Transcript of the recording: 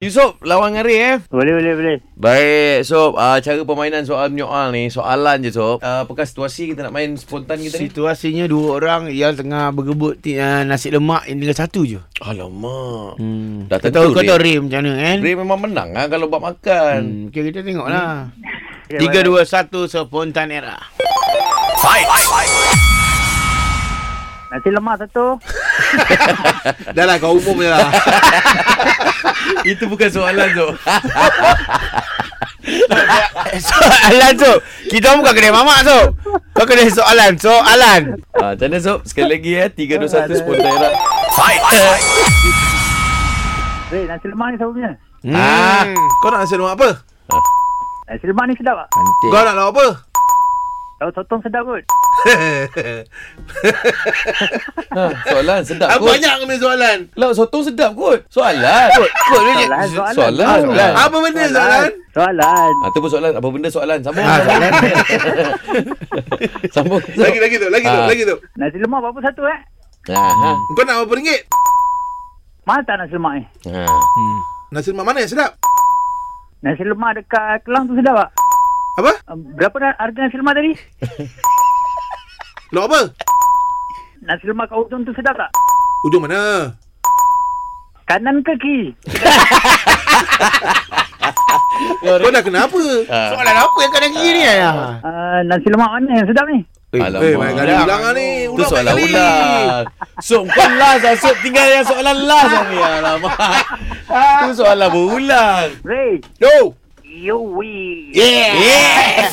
Yusof, lawan ngari eh. Boleh, boleh, boleh. Baik, Sob. Uh, cara permainan soal menyoal ni, soalan je, Sob. Uh, apakah situasi kita nak main spontan kita ni? Situasinya dua orang yang tengah berebut ti- uh, nasi lemak yang tinggal satu je. Alamak. Hmm. Dah Kau tentu, tahu, kau Ray. tahu Ray macam mana kan? Ray memang menang lah kalau buat makan. Hmm. Okay, kita tengoklah. Tiga, dua, satu, spontan era. Nasi lemak satu. Dah lah, kau umum je lah. Hmm. Itu bukan soalan, Sob. soalan, Sob. Kita bukan kedai mamak, Sob. Kau kedai soalan. Soalan. Ah, macam mana Sob? Sekali lagi ya 3, 2, 1 Spontan era Weh, nasi lemak ni siapa punya? Hmm. Ah. Kau nak nasi lemak apa? Nasi lemak ni sedap tak? Cantik Kau nak lauk apa? Tahu sotong sedap kot. ha, Soalan sedap Ah, kot banyak kena soalan. Lauk sotong sedap kot Soalan Kot, kot ni Soalan Soalan, soalan. Soalan, soalan. Soalan. Apa? Apa lah, benda kan? soalan? Soalan. Ah, tu pun soalan Apa benda soalan Sambung Ah, soalan. Sambung Sob. Lagi lagi tu, lagi tu, Ah. lagi tu. Nasi lemak berapa satu eh? Ah, ha. Kau nak berapa ringgit? Mahal tak nasi lemak ni? Ha. Hmm. Nasi lemak mana yang sedap? Nasi lemak dekat Kelang tu sedap tak? Apa? Um, Berapa dah harga nasi lemak tadi? Lauk apa? Nasi lemak kat Udon tu sedap tak? Ujung mana? Kanan ke kiri? Kau dah kenapa? Eh, Ah, Soalan apa yang kau nak kira ni? Ayah? Uh, nasi lemak mana yang sedap ni? Alamak. Eh, banyak kali ulang lah ni. Itu banyak soalan kali. ulang Sob kau last lah Sob tinggal yang soalan last lah ni Alamak Ah. Itu soalan berulang Ray. Yo! Yo wee. Yeah. Yes